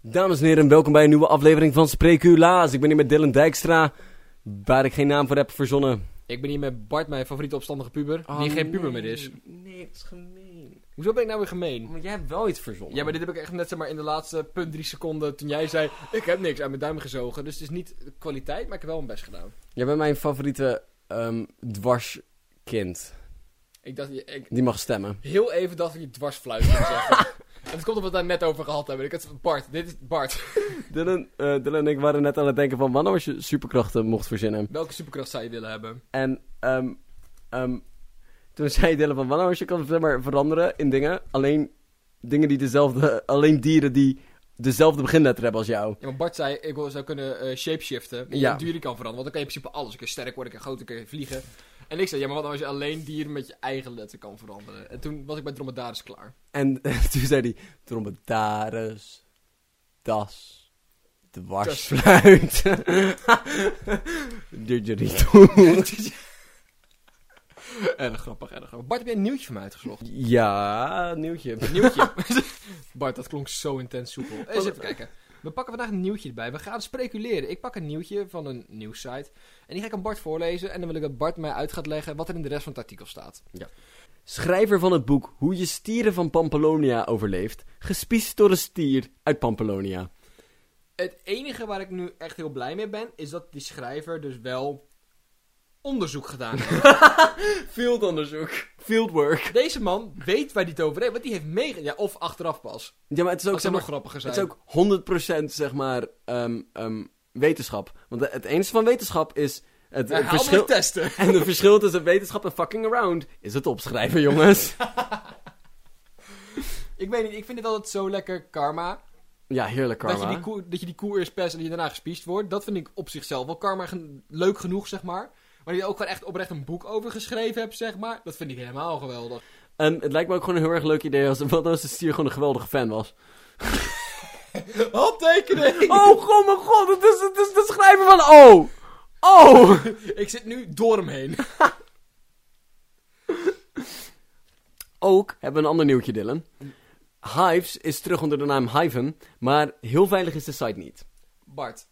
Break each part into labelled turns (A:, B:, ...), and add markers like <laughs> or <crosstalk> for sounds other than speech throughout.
A: Dames en heren, welkom bij een nieuwe aflevering van Spreekulaas. Ik ben hier met Dylan Dijkstra, waar ik geen naam voor heb verzonnen.
B: Ik ben hier met Bart, mijn favoriete opstandige puber,
A: Oh,
B: die geen puber meer is.
A: Nee, dat is gemeen.
B: Hoezo ben ik nou weer gemeen?
A: Maar jij hebt wel iets verzonnen.
B: Ja, maar dit heb ik echt net zeg maar in de laatste punt drie seconden toen jij zei, ik heb niks uit mijn duim gezogen. Dus het is niet kwaliteit, maar ik heb wel mijn best gedaan.
A: Jij bent mijn favoriete ehm, dwarskind.
B: Ik dacht, je- ik,
A: Die mag stemmen.
B: heel even dacht ik je dwarsfluit ging <laughs> zeggen. En het komt omdat we het daar net over gehad hebben. Ik had, Bart, dit is Bart.
A: Dylan, eh, Dylan en ik waren net aan het denken van wanneer als je superkrachten mocht verzinnen.
B: Welke superkracht zou je willen hebben?
A: En ehm, ehm, toen zei Dylan van wanneer als je kan zeg maar, veranderen in dingen. Alleen dingen die dezelfde, alleen dieren die dezelfde beginletter hebben als jou.
B: Ja, maar Bart zei, ik wil, zou kunnen eh, shapeshiften. En
A: Ja.
B: je dieren kan veranderen, want dan kan je in principe alles. Ik kan sterk worden, ik kan groot, ik kan vliegen. En ik zei, ja, maar wat nou als je alleen dieren met je eigen letter kan veranderen? En toen was ik bij Dromedaris klaar.
A: En <laughs> toen zei hij, trompetaris, das, dwarsfluit, <laughs>
B: <laughs>
A: didgeridoo.
B: Erg grappig, erg grappig. Bart, heb jij een nieuwtje van mij
A: <laughs>
B: uitgeslocht?
A: Ja, nieuwtje.
B: Nieuwtje. <laughs> Bart, dat klonk zo intens soepel. Eens even kijken. We pakken vandaag een nieuwtje erbij. We gaan speculeren. Ik pak een nieuwtje van een nieuwssite. En die ga ik aan Bart voorlezen. En dan wil ik dat Bart mij uit gaat leggen wat er in de rest van het artikel staat.
A: Schrijver van het boek Hoe je stieren van Pampelonia overleeft, gespiesd door een stier uit Pampelonia.
B: Het enige waar ik nu echt heel blij mee ben, is dat die schrijver dus wel onderzoek gedaan
A: <laughs>
B: heeft.
A: Fieldonderzoek. Fieldwork.
B: Deze man weet waar hij het over heeft, want die heeft meege... Ja, of achteraf pas.
A: Ja, maar het is ook,
B: Dat
A: zeg
B: zou nog
A: maar,
B: grappiger zijn.
A: het is ook 100% zeg maar ehm, ehm, wetenschap. Want het enige van wetenschap is het, het
B: Herhaaldelijk
A: verschil...
B: testen.
A: En het verschil tussen wetenschap en fucking around is het opschrijven, jongens.
B: Ik weet niet, ik vind het altijd zo lekker karma.
A: Ja, heerlijk karma.
B: Dat je die koe, dat je die koe eerst pest en dat je daarna gespiesd wordt. Dat vind ik op zichzelf wel karma gen- leuk genoeg, zeg maar. Maar dat je ook gewoon echt oprecht een boek over geschreven hebt, zeg maar. Dat vind ik helemaal geweldig.
A: En het lijkt me ook gewoon een heel erg leuk idee als, wat als de stier gewoon een geweldige fan was.
B: <laughs> Handtekening!
A: Oh, god, mijn god, het is, het is de schrijver van... Oh! Oh!
B: Ik zit nu door hem heen. <laughs>
A: Ook hebben we een ander nieuwtje, Dylan. Hives is terug onder de naam Hiven, maar heel veilig is de site niet.
B: Bart,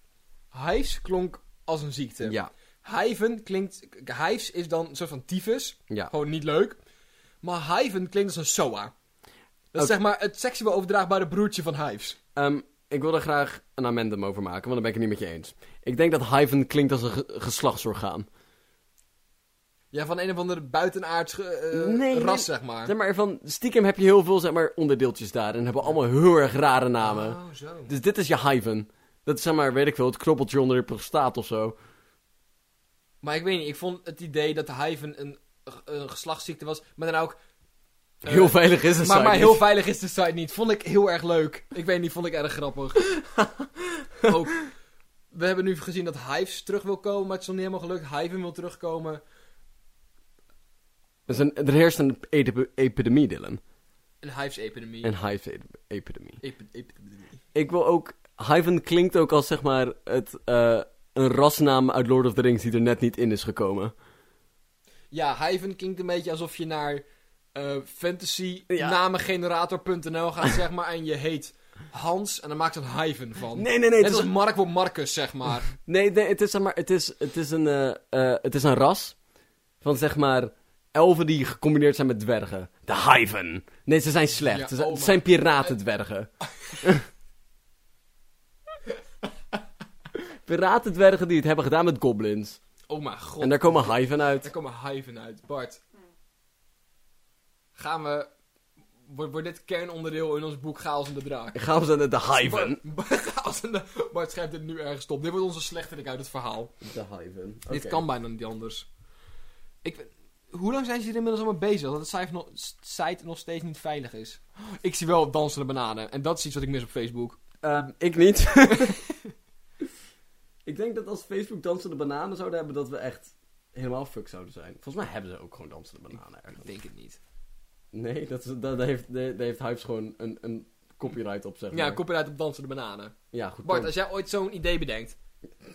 B: hives klonk als een ziekte. Hiven klinkt... k- Hives is dan een soort van tyfus.
A: Ja.
B: Gewoon niet leuk. Maar hiven klinkt als een soa. Dat
A: Oké.
B: is zeg maar het seksueel overdraagbare broertje van hives.
A: Ehm, ik wil daar graag een amendum over maken, want dan ben ik het niet met je eens. Ik denk dat Hiven klinkt als een ge- geslachtsorgaan.
B: Ja, van een of andere buitenaards eh,
A: Nee, nee.
B: ras, zeg maar.
A: Zeg maar, van stiekem heb je heel veel zeg maar, onderdeeltjes daar en hebben allemaal heel erg rare namen.
B: Oh, zo.
A: Dus dit is je hyven. Dat is zeg maar, weet ik veel, het knobbeltje onder je prostaat of zo.
B: Maar ik weet niet, ik vond het idee dat de hive een, een, een geslachtsziekte was, maar dan ook... eh,
A: Heel veilig is het
B: maar, maar
A: site
B: heel
A: niet.
B: veilig is de site niet. Vond ik heel erg leuk. Ik weet niet, vond ik erg
A: <laughs>
B: grappig. ook, we hebben nu gezien dat Hives terug wil komen, maar het is nog niet helemaal gelukt. Hive wil terugkomen.
A: Dus een- er heerst een ep- epidemie, Dylan.
B: Een Hives-epidemie.
A: Een hive-epidemie.
B: Epi- epidemie.
A: Ik wil ook... Hyven klinkt ook als, zeg maar, het, eh, een rasnaam uit Lord of the Rings die er net niet in is gekomen.
B: Ja, Hive klinkt een beetje alsof je naar eh
A: Ja.
B: fantasynamengenerator.nl
A: <laughs>
B: gaat, zeg maar, en je heet Hans, en dan maakt een Hive van.
A: Nee, nee, nee. Het
B: Net
A: is,
B: als Mark wordt Marcus, zeg maar.
A: nee, nee, het is, zeg maar, het is, het is, een, eh, eh, het is een ras van, zeg maar, elfen die gecombineerd zijn met dwergen. De hyven. Nee, ze zijn slecht.
B: Ja,
A: ze zijn,
B: oh
A: het
B: my-
A: zijn piratendwergen. <laughs> piratendwergen die het hebben gedaan met goblins.
B: Oh mijn god.
A: En daar komen hyven uit.
B: Daar komen hyven uit. Bart. Gaan we... Wordt wordt dit kernonderdeel in ons boek Chaos en de Draak?
A: Gaan ze naar de hyven.
B: Bart, Bart, Chaos en de... Bart schrijft dit nu ergens op. Dit wordt onze slechterik uit het verhaal.
A: De hyven.
B: Dit kan bijna niet anders. Ik, weet- hoe lang zijn ze er inmiddels al mee bezig? Dat het site nog, site nog steeds niet veilig is. Ik zie wel dansende bananen. En dat is iets wat ik mis op Facebook.
A: Ehm, ik niet. <laughs> ik denk dat als Facebook dansende bananen zouden hebben, dat we echt helemaal fuck zouden zijn. Volgens mij hebben ze ook gewoon dansende bananen
B: Ik
A: ergens.
B: denk het niet.
A: Nee, dat, is, dat, dat heeft, dat heeft Hypes gewoon een, een copyright op, zeg maar.
B: Ja, copyright op dansende bananen.
A: Ja, goed.
B: Bart,
A: punt.
B: als jij ooit zo'n idee bedenkt...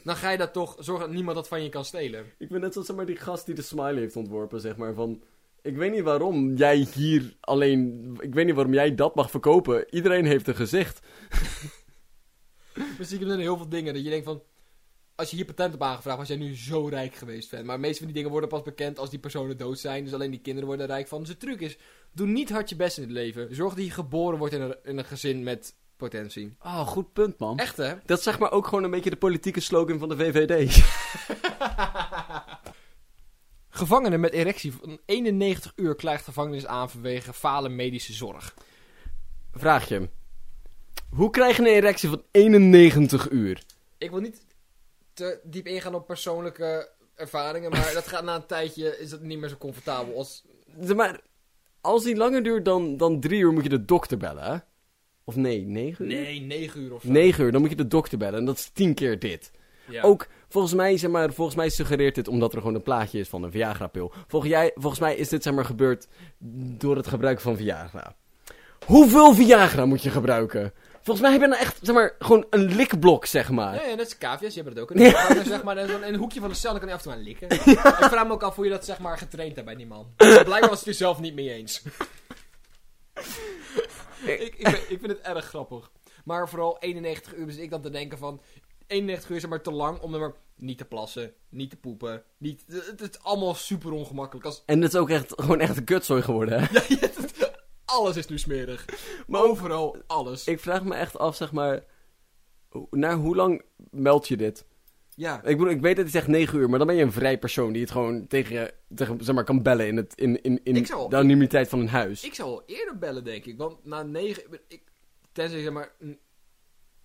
B: Dan ga je dat toch zorgen dat niemand dat van je kan stelen.
A: Ik ben net zoals zeg maar, die gast die de smiley heeft ontworpen, zeg maar. Van, ik weet niet waarom jij hier alleen... Ik weet niet waarom jij dat mag verkopen. Iedereen heeft een gezicht.
B: Maar zie ik hem in heel veel dingen dat je denkt van... Als je hier patent op aangevraagd, was jij nu zo rijk geweest, fan. Maar de meeste van die dingen worden pas bekend als die personen dood zijn. Dus alleen die kinderen worden er rijk van. Dus de truc is, doe niet hard je best in het leven. Zorg dat je geboren wordt in een, in een gezin met potentie.
A: Oh, goed punt, man.
B: Echt, hè?
A: Dat is zeg maar ook gewoon een beetje de politieke slogan van de VVD.
B: Gevangenen met erectie van 91 uur klaagt gevangenis aan vanwege falen medische zorg.
A: Vraagje. Hoe krijg je een erectie van 91 uur?
B: Ik wil niet te diep ingaan op persoonlijke ervaringen, <laughs> maar dat gaat na een tijdje is dat niet meer zo comfortabel als...
A: Zeg Maar als die langer duurt dan, dan drie uur, moet je de dokter bellen, hè? Of nee, 9 uur?
B: Nee, 9 uur of zo.
A: 9 uur, dan moet je de dokter bellen. En dat is 10 keer dit.
B: Ja.
A: Ook, volgens mij, zeg maar, volgens mij suggereert dit omdat er gewoon een plaatje is van een Viagra-pil. Volgens, jij, volgens mij is dit, zeg maar, gebeurd door het gebruik van Viagra. Hoeveel Viagra moet je gebruiken? Volgens mij heb je nou echt, zeg maar, gewoon een likblok, zeg maar.
B: Ja, ja, net als cavia's, je hebt dat ook. Een ja. zeg maar, dat is dan in een hoekje van de cel, dan kan je af en toe aan likken. <laughs> Ik vraag me ook af hoe je dat zeg maar getraind hebt bij die man. Blijkbaar was het er zelf niet mee eens. ik, ik, ben- ik vind het erg grappig. Maar vooral 91 uur, dus ik dan te denken van... 91 uur is maar te lang om er maar niet te plassen, niet te poepen, niet... Het, het is allemaal super ongemakkelijk. Als,
A: En het is ook echt, gewoon echt een kutzooi geworden, hè?
B: alles is nu smerig.
A: Maar
B: Maar
A: ook-
B: overal, alles.
A: Ik vraag me echt af, zeg maar, ho- naar hoe lang meld je dit?
B: ja.
A: Ik bedoel, ik weet dat hij zegt 9 uur, maar dan ben je een vrij persoon die het gewoon tegen, je- tegen zeg maar, kan bellen in, het, in, in, in
B: Ik zou-
A: de anonimiteit van een huis.
B: Ik zou al eerder bellen, denk ik. Want na negen... Ik, tenzij zeg maar... n-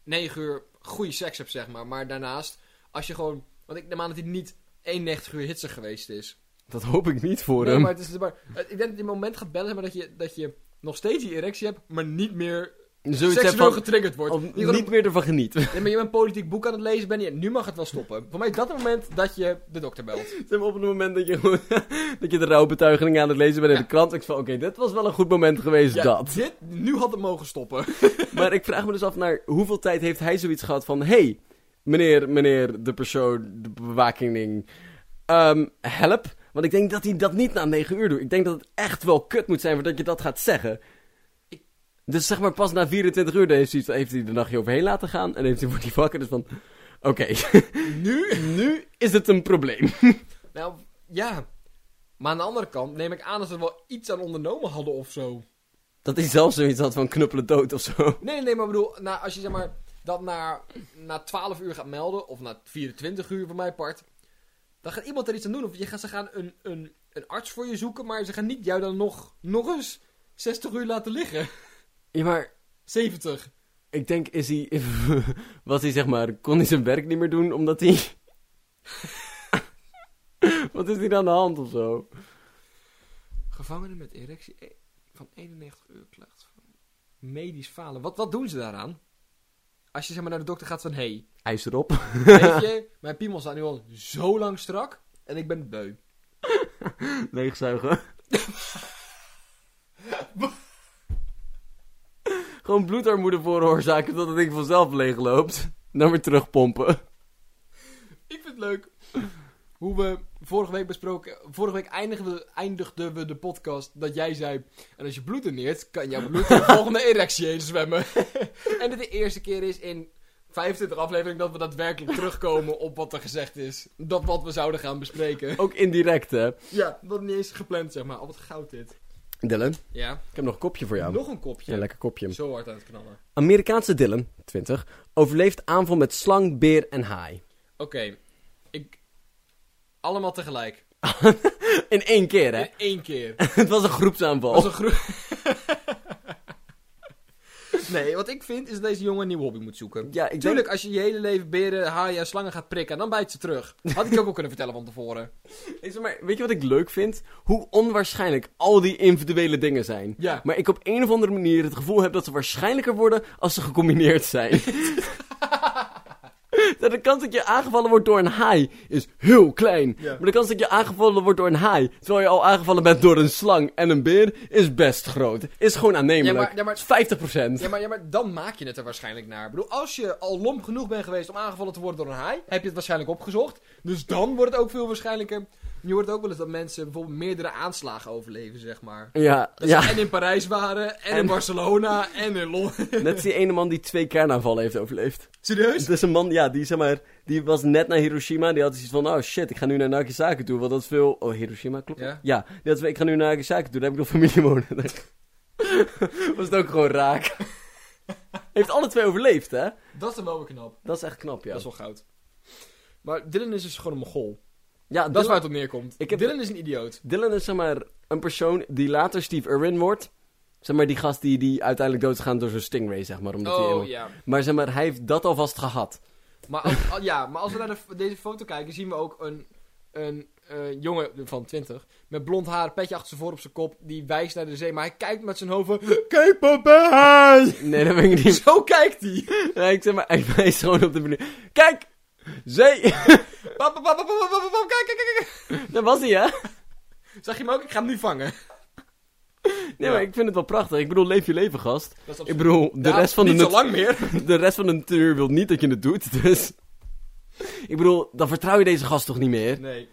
B: Negen uur goede seks hebt, zeg maar. Maar daarnaast, als je gewoon... Want ik neem aan dat hij niet 91 uur hitsig geweest is.
A: Dat hoop ik niet voor
B: Nee,
A: hem.
B: maar het is... Maar, eh, ik denk dat je een moment gaat bellen, maar dat je, dat je nog steeds die erectie hebt, maar niet meer
A: Zoiets
B: seksueel
A: heb van,
B: getriggerd wordt.
A: of
B: Je kan
A: niet meer ervan genieten. <laughs>
B: Nee, maar je bent een politiek boek aan het lezen, ben je... Nu mag het wel stoppen. Voor mij is dat het moment dat je de dokter
A: <laughs>
B: belt.
A: Zeg maar, op het moment dat je, gewoon- <laughs> dat je de rouwbetuiging aan het lezen bent in de krant. Ik van, oké, dit was wel een goed moment geweest,
B: Ja,
A: dat.
B: Dit, nu had het mogen stoppen.
A: Maar ik vraag me dus af naar hoeveel tijd heeft hij zoiets gehad van... hey, meneer, meneer, de persoon, de bewaking, ehm, help. Want ik denk dat hij dat niet na 9 uur doet. Ik denk dat het echt wel kut moet zijn voordat je dat gaat zeggen.
B: Ik-
A: Dus zeg maar pas na 24 uur heeft hij, iets- heeft hij de nachtje overheen laten gaan. En heeft hij voor die wakker dus van... Oké, <laughs> nu? nu is het een probleem. <laughs>
B: Nou, ja. Maar aan de andere kant neem ik aan dat ze er wel iets aan ondernomen hadden of zo.
A: Dat hij zelf zoiets had van knuppelen dood of zo.
B: Nee, nee, nee, maar ik bedoel, nou, als je zeg maar dat na, na 12 uur gaat melden, of na 24 uur van mijn part, dan gaat iemand er iets aan doen. Of je gaat, ze gaan een, een, een arts voor je zoeken, maar ze gaan niet jou dan nog, nog eens 60 uur laten liggen. <laughs>
A: Ja, maar
B: 70.
A: ik denk, is hij... <laughs> Was hij, zeg maar... Kon hij zijn werk niet meer doen, omdat hij... <laughs> Wat is hier aan de hand of zo?
B: Gevangenen met erectie e- van 91 uur klacht van medisch falen. Wat, wat doen ze daaraan? Als je zeg maar naar de dokter gaat van, hé, hey,
A: IJs erop. <laughs>
B: Weet je, mijn piemel staat nu al zo lang strak en ik ben het beu.
A: Leegzuigen. <laughs> Gewoon bloedarmoede veroorzaken totdat het ding vanzelf leegloopt. Dan weer terugpompen.
B: Ik vind het leuk hoe we vorige week besproken... Vorige week eindigden we, eindigden we de podcast dat jij zei... En als je bloed doneert, kan jouw bloed <laughs> de volgende erectie heen zwemmen. en dit de eerste keer is in 25 aflevering dat we daadwerkelijk <laughs> terugkomen op wat er gezegd is. Dat wat we zouden gaan bespreken.
A: Ook indirect, hè.
B: Ja, dat niet eens gepland, zeg maar. Al wat goud dit.
A: Dylan,
B: Ja,
A: ik heb nog een kopje voor jou.
B: nog een kopje.
A: Ja, lekker kopje.
B: Zo hard aan het knallen.
A: Amerikaanse Dylan, 20, overleeft aanval met slang, beer en haai.
B: Oké, ik... Allemaal tegelijk.
A: In één keer, hè? <laughs> Oh.
B: In één keer.
A: het was een groepsaanval.
B: Als een
A: <laughs>
B: groep. nee, wat ik vind is dat deze jongen een nieuwe hobby moet zoeken.
A: Ja, ik
B: Tuurlijk, als je je hele leven beren, haaien en slangen gaat prikken, dan bijt ze terug. Had ik je ook al kunnen vertellen van tevoren.
A: Ik zeg maar, weet je wat ik leuk vind? Hoe onwaarschijnlijk al die individuele dingen zijn.
B: Ja.
A: Maar ik op een of andere manier het gevoel heb dat ze waarschijnlijker worden als ze gecombineerd
B: <laughs>
A: zijn. dat de kans dat je aangevallen wordt door een haai is heel klein.
B: Ja.
A: Maar de kans dat je aangevallen wordt door een haai, terwijl je al aangevallen bent door een slang en een beer, is best groot. Is gewoon aannemelijk.
B: Ja, maar- ja, maar-
A: Het is 50%.
B: Ja maar, ja, maar dan maak je het er waarschijnlijk naar. Ik bedoel, als je al lomp genoeg bent geweest om aangevallen te worden door een haai, heb je het waarschijnlijk opgezocht. Dus dan wordt het ook veel waarschijnlijker. Je hoort ook wel eens dat mensen bijvoorbeeld meerdere aanslagen overleven, zeg maar.
A: Ja,
B: Dat
A: ja.
B: ze en in Parijs waren, en,
A: En-
B: in Barcelona, en in Londen.
A: Net als die ene man die twee kernaanvallen heeft overleefd.
B: Serieus?
A: Het is een man, ja, die zeg maar, die was net naar Hiroshima. Die had zoiets van, oh shit, ik ga nu naar Nagasaki toe, want dat is veel... Oh, Hiroshima, klopt dat?
B: Ja.
A: Ja, die had zoiets van, ik ga nu naar Nagasaki toe, daar heb ik nog familie wonen. <laughs> was het ook gewoon raak. heeft alle twee overleefd, hè?
B: Dat is dan wel weer knap.
A: Dat is echt knap, ja.
B: Dat is wel goud. Maar Dylan is dus gewoon een mogol.
A: Ja,
B: Dat
A: Dylan,
B: is waar het op neerkomt.
A: Ik heb-
B: Dylan is een idioot.
A: Dylan is zeg maar een persoon die later Steve Irwin wordt. Zeg maar die gast die, die uiteindelijk dood is gegaan door zo'n stingray, zeg maar. Omdat hij
B: Oh
A: helemaal-
B: ja.
A: Maar zeg maar, hij heeft dat alvast gehad.
B: Maar als, al- ja, maar als we naar de, f- deze foto kijken, zien we ook een, een eh, jongen van 20 met blond haar, petje achter zijn voor op zijn kop, die wijst naar de zee, maar hij kijkt met zijn hoofd <laughs> van, Kijk papa!
A: Nee, dat ben ik niet.
B: Zo kijkt hij!
A: Nee, ik zeg maar, <laughs> hij wijst gewoon op de manier. Kijk! Zee! <laughs>
B: Papa, papa, papa, papa, papa, kijk, kijk, kijk, kijk!
A: Dat was hij, hè?
B: Zag je hem ook? Ik ga hem nu vangen.
A: Nee,
B: Ja.
A: maar ik vind het wel prachtig. Ik bedoel, leef je leven, gast.
B: Dat is
A: Ik bedoel, de, rest, van de,
B: Niet zo
A: nat-
B: lang meer.
A: <laughs> de rest van de natuur wil niet dat je het doet, dus... Ik bedoel, dan vertrouw je deze gast toch niet meer?
B: Nee.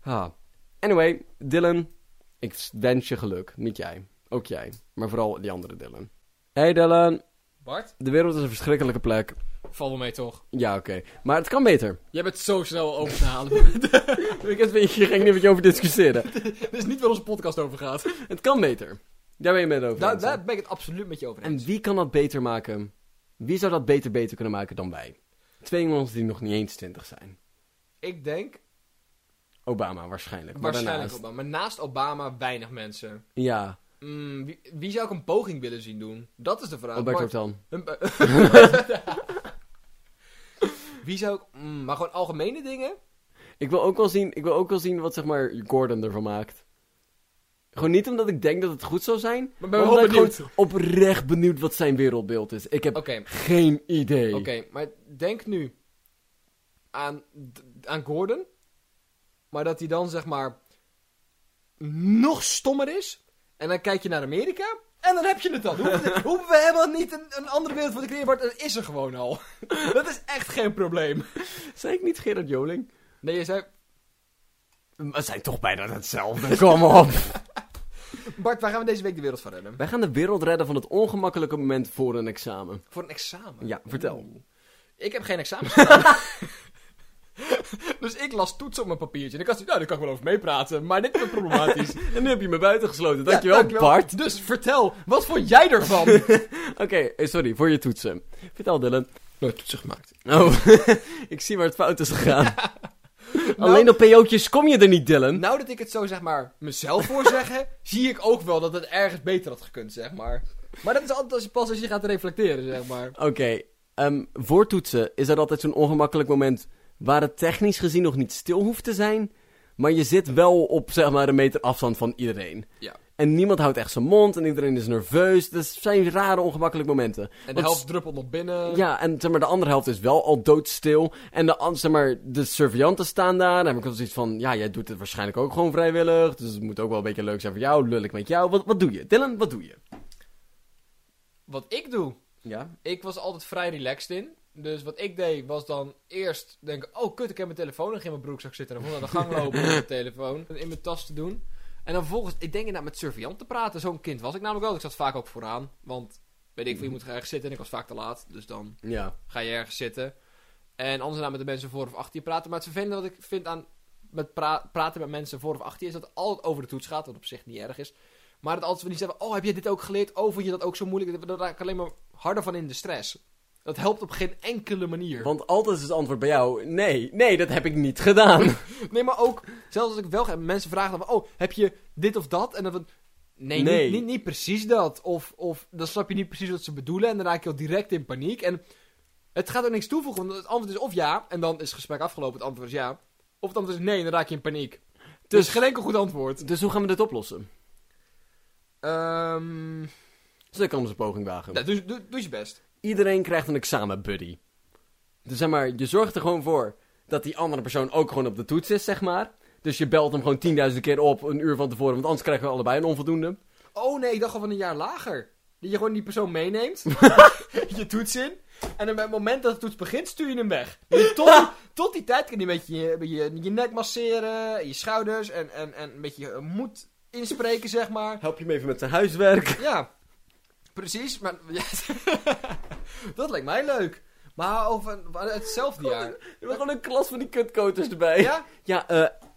A: Ha. Anyway, Dylan, ik wens je geluk. Niet jij. Ook jij. Maar vooral die andere Dylan. Hey Dylan,
B: Bart?
A: de wereld is een verschrikkelijke plek.
B: Val wel mee toch?
A: Ja, oké. Maar het kan beter.
B: Jij bent zo snel over te <laughs> halen.
A: <laughs> Ik heb hier ging niet met je over discussiëren.
B: Dit is niet waar onze podcast over gaat.
A: Het kan beter. Nou, Daar ben je met over.
B: Daar,
A: eens, hè?
B: daar ben ik het absoluut met je over
A: En
B: eens.
A: wie kan dat beter maken? Wie zou dat beter beter kunnen maken dan wij? Twee jongens die nog niet eens twintig zijn.
B: Ik denk
A: Obama waarschijnlijk. Maar
B: Waarschijnlijk
A: daarnaast-
B: Obama. Maar naast Obama weinig mensen.
A: Ja,
B: Mm, wie, wie zou ik een poging willen zien doen? Dat is de vraag.
A: Alberto
B: Bart,
A: Tan.
B: een po- <laughs> wie zou ik... mm, maar gewoon algemene dingen?
A: Ik wil, ook wel zien, ik wil ook wel zien wat zeg maar Gordon ervan maakt. Gewoon niet omdat ik denk dat het goed zou zijn.
B: Maar ben
A: maar
B: wel
A: omdat ik
B: benieuwd.
A: gewoon oprecht benieuwd wat zijn wereldbeeld is. Ik heb
B: Oké,
A: geen idee.
B: oké. maar denk nu aan, d- aan Gordon. Maar dat hij dan zeg maar nog stommer is. En dan kijk je naar Amerika. En dan heb je het dan. Hoe, hoe we helemaal niet een, een andere wereld voor te creëren, wordt, dat is er gewoon al. <laughs> dat is echt geen probleem.
A: Zei ik niet Gerard Joling?
B: Nee, je zei...
A: Maar het zijn toch bijna hetzelfde. <laughs> Kom op.
B: Bart, waar gaan we deze week de wereld van redden?
A: Wij gaan de wereld redden van het ongemakkelijke moment voor een examen.
B: Voor een examen?
A: Ja, vertel.
B: Oeh. Ik heb geen examen gedaan. <laughs> dus ik las toetsen op mijn papiertje. En ik dacht, nou, daar kan ik wel over meepraten. Maar dit wordt
A: <laughs>
B: problematisch.
A: En nu heb je me buiten gesloten.
B: Ja,
A: Dankjewel, Bart.
B: Dus vertel, wat vond jij
A: <laughs>
B: ervan?
A: Oké, eh, sorry voor je toetsen. Vertel Dylan.
B: Nooit toetsen gemaakt.
A: Oh, <laughs> ik zie waar het fout is gegaan. <laughs> Alleen op PO'tjes kom je er niet, Dylan.
B: Nou dat ik het zo, zeg maar, mezelf voor <laughs> zeggen... zie ik ook wel dat het ergens beter had gekund, zeg maar. Maar dat is altijd als je pas als je gaat reflecteren, zeg maar.
A: Oké, ehm, voor toetsen is er altijd zo'n ongemakkelijk moment waar het technisch gezien nog niet stil hoeft te zijn, maar je zit wel op zeg maar een meter afstand van iedereen.
B: Ja.
A: En niemand houdt echt zijn mond en iedereen is nerveus. Dat zijn rare ongemakkelijke momenten.
B: En de
A: Want-
B: helft druppelt nog binnen.
A: Ja, en zeg maar, de andere helft is wel al doodstil. En de, an- zeg maar, de surveillanten staan daar. Dan heb ik wel zoiets van, ja, jij doet het waarschijnlijk ook gewoon vrijwillig. Dus het moet ook wel een beetje leuk zijn voor jou. Lul ik met jou. Wat, wat doe je? Dylan, wat doe je?
B: Wat ik doe...
A: Ja.
B: ik was altijd vrij relaxed in. Dus wat ik deed was dan eerst denken: oh kut, ik heb mijn telefoon nog in mijn broekzak zitten. Dan gewoon naar de gang lopen om mijn telefoon in mijn tas te doen. En dan volgens, ik denk inderdaad met surveillant te praten. Zo'n kind was ik namelijk wel. Ik zat vaak ook vooraan. Want weet ik veel, je moet ergens zitten en ik was vaak te laat. Dus dan
A: Ja.
B: ga je ergens zitten. En anders dan met de mensen voor of achter je praten. Maar het vervelende wat ik vind aan met pra- praten met mensen voor of achter je... is dat het altijd over de toets gaat, wat op zich niet erg is. Maar dat altijd we niet zeggen... oh, heb je dit ook geleerd? Oh, vond je dat ook zo moeilijk? Daar raak ik alleen maar harder van in de stress. Dat helpt op geen enkele manier.
A: Want altijd is het antwoord bij jou, nee, nee, dat heb ik niet gedaan. <laughs>
B: Nee, maar ook... zelfs als ik wel... ga- mensen vragen dan van... oh, heb je dit of dat? En dan van... Nee,
A: Nee.
B: Niet, niet, niet precies dat. Of, of dan snap je niet precies wat ze bedoelen. En dan raak je al direct in paniek. En het gaat er niks toevoegen. Want het antwoord is of ja. En dan is het gesprek afgelopen. Het antwoord is ja. Of het antwoord is nee. En dan raak je in paniek. Dus geen enkel goed antwoord.
A: Dus hoe gaan we dit oplossen?
B: Ehm
A: Dus ik kan ons een poging wagen.
B: nou, doe, doe, doe je best.
A: Iedereen krijgt een examenbuddy. Dus zeg maar, je zorgt er gewoon voor dat die andere persoon ook gewoon op de toets is, zeg maar. Dus je belt hem gewoon 10.000 keer op, een uur van tevoren, want anders krijgen we allebei een onvoldoende.
B: Oh nee, ik dacht al van een jaar lager. Dat je gewoon die persoon meeneemt, je toets in, en op het moment dat de toets begint, stuur je hem weg. Dus tot, tot die tijd kan hij een beetje je, een beetje je nek masseren, je schouders en, en, en een beetje eh, moed inspreken, zeg maar.
A: Help je hem even met zijn huiswerk.
B: Ja, precies. Maar, <laughs> ja, dat lijkt mij leuk. Maar over maar hetzelfde jaar.
A: Er was gewoon een klas van die kutkoters erbij.
B: Ja?
A: Ja,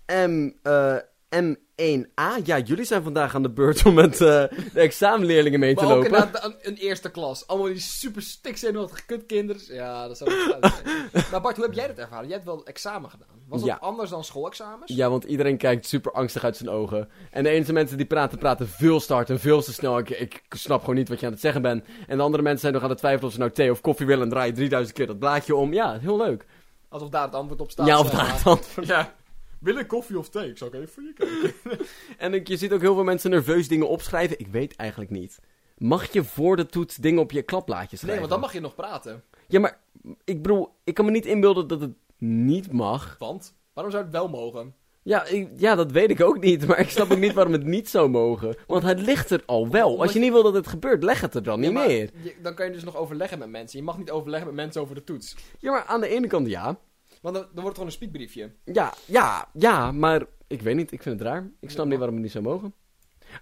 A: eh, M, eh, M1A. Ja, jullie zijn vandaag aan de beurt om met eh, de examenleerlingen mee te
B: Maar ook
A: lopen.
B: inderdaad een, een eerste klas. Allemaal die super stikzenuwachtige kutkinders. Ja, dat zou ik niet zijn.
A: <laughs>
B: Maar Bart, hoe heb jij dat ervaren? Jij hebt wel examen gedaan. Was dat
A: Ja.
B: anders dan schoolexamens?
A: Ja, want iedereen kijkt super angstig uit zijn ogen. En de ene mensen die praten, praten veel te hard en veel te snel. Ik, ik snap gewoon niet wat je aan het zeggen bent. En de andere mensen zijn nog aan het twijfelen of ze nou thee of koffie willen. En draaien 3000 keer dat blaadje om. Ja, heel leuk.
B: Alsof daar het antwoord op staat.
A: ja, of
B: zeg maar.
A: daar dan.
B: <laughs> Ja. Wil ik koffie of thee? Ik zal even voor je kijken.
A: En ik- je ziet ook heel veel mensen nerveus dingen opschrijven. Ik weet eigenlijk niet. Mag je voor de toets dingen op je klapblaadje schrijven?
B: Nee, want dan mag je nog praten.
A: Ja, maar ik bedoel, ik kan me niet inbeelden dat het niet mag.
B: Want, waarom zou het wel mogen?
A: Ja, ik- ja, dat weet ik ook niet. Maar ik snap ook niet waarom het niet zou mogen. Want het ligt er al wel. Als je niet wil dat het gebeurt, leg het er dan niet
B: Ja, maar
A: meer.
B: je- dan kan je dus nog overleggen met mensen. Je mag niet overleggen met mensen over de toets.
A: Ja, maar aan de ene kant ja.
B: Want dan, dan wordt het gewoon een spiekbriefje.
A: Ja, ja, ja, maar ik weet niet. Ik vind het raar. Ik snap
B: Ja.
A: niet waarom het niet zou mogen.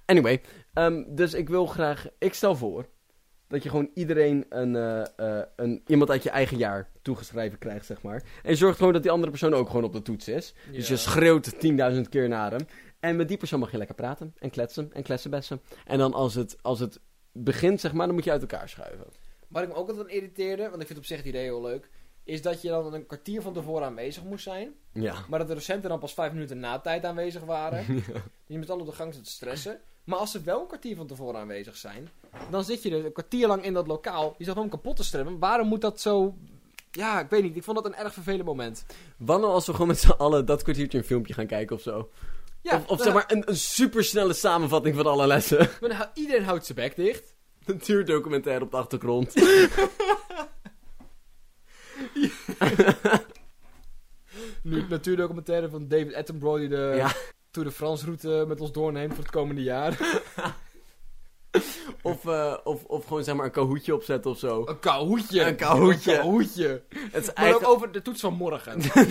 A: Anyway, ehm, dus ik wil graag... Ik stel voor dat je gewoon iedereen een, eh, eh, een, iemand uit je eigen jaar toegeschreven krijgt, zeg maar. En zorg gewoon dat die andere persoon ook gewoon op de toets is. Dus je schreeuwt 10.000 keer naar hem. En met die persoon mag je lekker praten en kletsen en kletsenbessen. En dan als het, als het begint, zeg maar, dan moet je uit elkaar schuiven.
B: Wat ik me ook altijd aan irriteerde, want ik vind op zich het idee heel leuk, is dat je dan een kwartier van tevoren aanwezig moest zijn,
A: Ja.
B: maar dat de docenten dan pas vijf minuten na tijd aanwezig waren. <laughs> Die je met alle op de gang zit te stressen. Maar als ze wel een kwartier van tevoren aanwezig zijn, dan zit je dus een kwartier lang in dat lokaal. Je zat gewoon kapot te stremmen. Waarom moet dat zo... Ja, ik weet niet. Ik vond dat een erg vervelend moment.
A: Wanneer als we gewoon met z'n allen dat kwartiertje een filmpje gaan kijken of zo?
B: Ja,
A: of of
B: dan-
A: zeg maar een, een supersnelle samenvatting van alle lessen. <laughs>
B: maar dan hou- iedereen houdt zijn bek dicht.
A: Een duurdocumentaire op de
B: <laughs>
A: achtergrond.
B: Nu natuurdocumentaire van David Attenborough die de
A: Ja.
B: Tour de France route met ons doorneemt voor het komende jaar.
A: Of, eh, of, of gewoon zeg maar een kahootje opzetten of zo.
B: <laughs> Een kauwhoedje.
A: Een kauwhoedje.
B: Een kauwhoedje.
A: Het is
B: Maar ook
A: eigenlijk...
B: over de toets van morgen.
A: Ik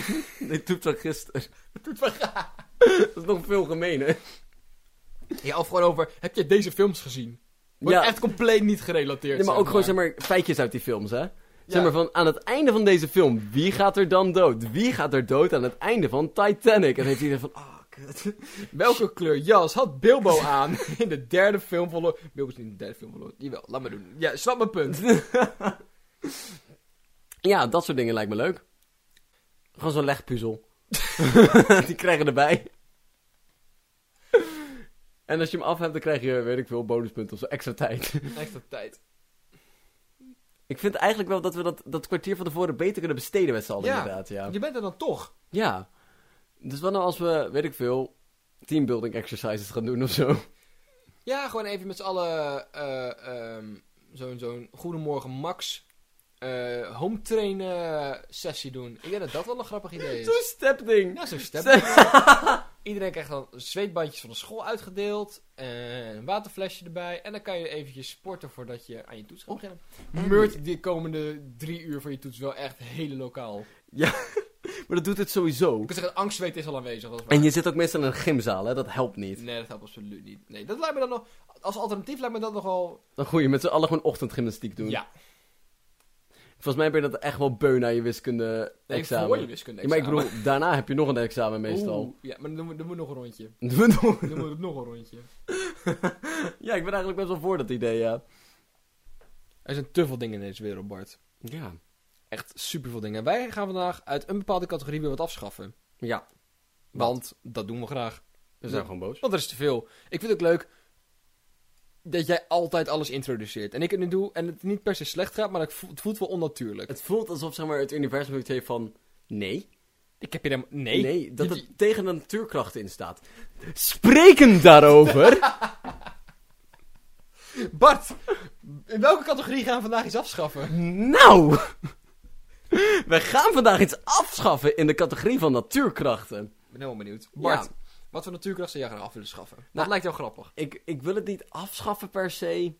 A: doe het van gisteren. <laughs> Dat is nog veel gemener.
B: <laughs> ja, of gewoon over, heb je deze films gezien? Wordt
A: Ja.
B: echt compleet niet gerelateerd.
A: Nee, maar ook gewoon zeg maar feitjes uit die films, hè? Zeg
B: Ja.
A: maar van aan het einde van deze film, wie gaat er dan dood? Wie gaat er dood aan het einde van Titanic? En dan heeft iedereen van, ah, kut.
B: Welke kleur jas had Bilbo <laughs> aan in de derde film van Lord... Bilbo is niet in de derde film van Lord... Jawel, laat maar doen. Ja, snap mijn <laughs> punt.
A: Ja, dat soort dingen lijkt me leuk. Gewoon zo'n
B: <laughs>
A: legpuzzel. die krijgen erbij. En als je hem af hebt, dan krijg je, weet ik veel, bonuspunten of zo, extra tijd.
B: Echt op tijd.
A: Ik vind eigenlijk wel dat we dat, dat kwartier van tevoren beter kunnen besteden met z'n allen,
B: Ja.
A: inderdaad. Ja.
B: Je bent er dan toch.
A: ja. Dus wat nou als we, weet ik veel, teambuilding exercises gaan doen of zo?
B: Ja, gewoon even met z'n allen eh, ehm, zo'n zo'n Goedemorgen Max eh home trainen sessie doen. Ik denk dat dat wel een grappig idee is.
A: Zo'n stepding.
B: Ja, zo'n stem. <laughs> Iedereen krijgt dan zweetbandjes van de school uitgedeeld. En een waterflesje erbij. En dan kan je eventjes sporten voordat je aan je toets gaat beginnen. Meurt die komende drie uur van je toets wel echt hele lokaal. Ik
A: Maar dat doet het sowieso.
B: kan zeggen, angstzweet is al aanwezig. Dat is waar.
A: En je zit ook meestal in een gymzaal, hè? Dat helpt niet.
B: Nee, dat helpt absoluut niet. Nee, dat lijkt me dan nog... Als alternatief lijkt me dat nogal...
A: Dan goeie, met z'n allen gewoon ochtendgymnastiek doen.
B: Ja.
A: Volgens mij ben je dat echt wel beu naar je
B: Nee,
A: wiskunde-examen.
B: voor je wiskunde
A: Ja, maar ik bedoel, daarna heb je nog een examen meestal. <laughs>
B: Oeh, ja, maar dan moet, dan moet nog een rondje.
A: We doen-
B: Dan moet nog een rondje.
A: ja, ik ben eigenlijk best wel voor dat idee, ja.
B: <laughs> Er zijn te veel dingen in deze wereld, Bart.
A: Ja.
B: Echt superveel dingen. En wij gaan vandaag uit een bepaalde categorie weer wat afschaffen.
A: Ja,
B: Want dat doen we graag.
A: we zijn
B: Ja.
A: gewoon boos.
B: Want er is te veel. Ik vind het ook leuk dat jij altijd alles introduceert. En ik het nu doe en het niet per se slecht gaat, maar het voelt, het voelt wel onnatuurlijk.
A: Het voelt alsof zeg maar, het universum het heeft van... Nee.
B: Ik heb je helemaal... Nee.
A: Nee, dat
B: Je-
A: het tegen de natuurkracht in staat. Spreken <laughs> daarover.
B: <laughs> Bart, in welke categorie gaan we vandaag iets afschaffen?
A: nou. We gaan vandaag iets afschaffen in de categorie van natuurkrachten.
B: Ik ben helemaal benieuwd. Bart, Nou,
A: Ja.
B: wat voor natuurkracht zou jij gaan af willen schaffen? Dat
A: Nou,
B: lijkt jou grappig.
A: Ik, ik wil het niet afschaffen per se.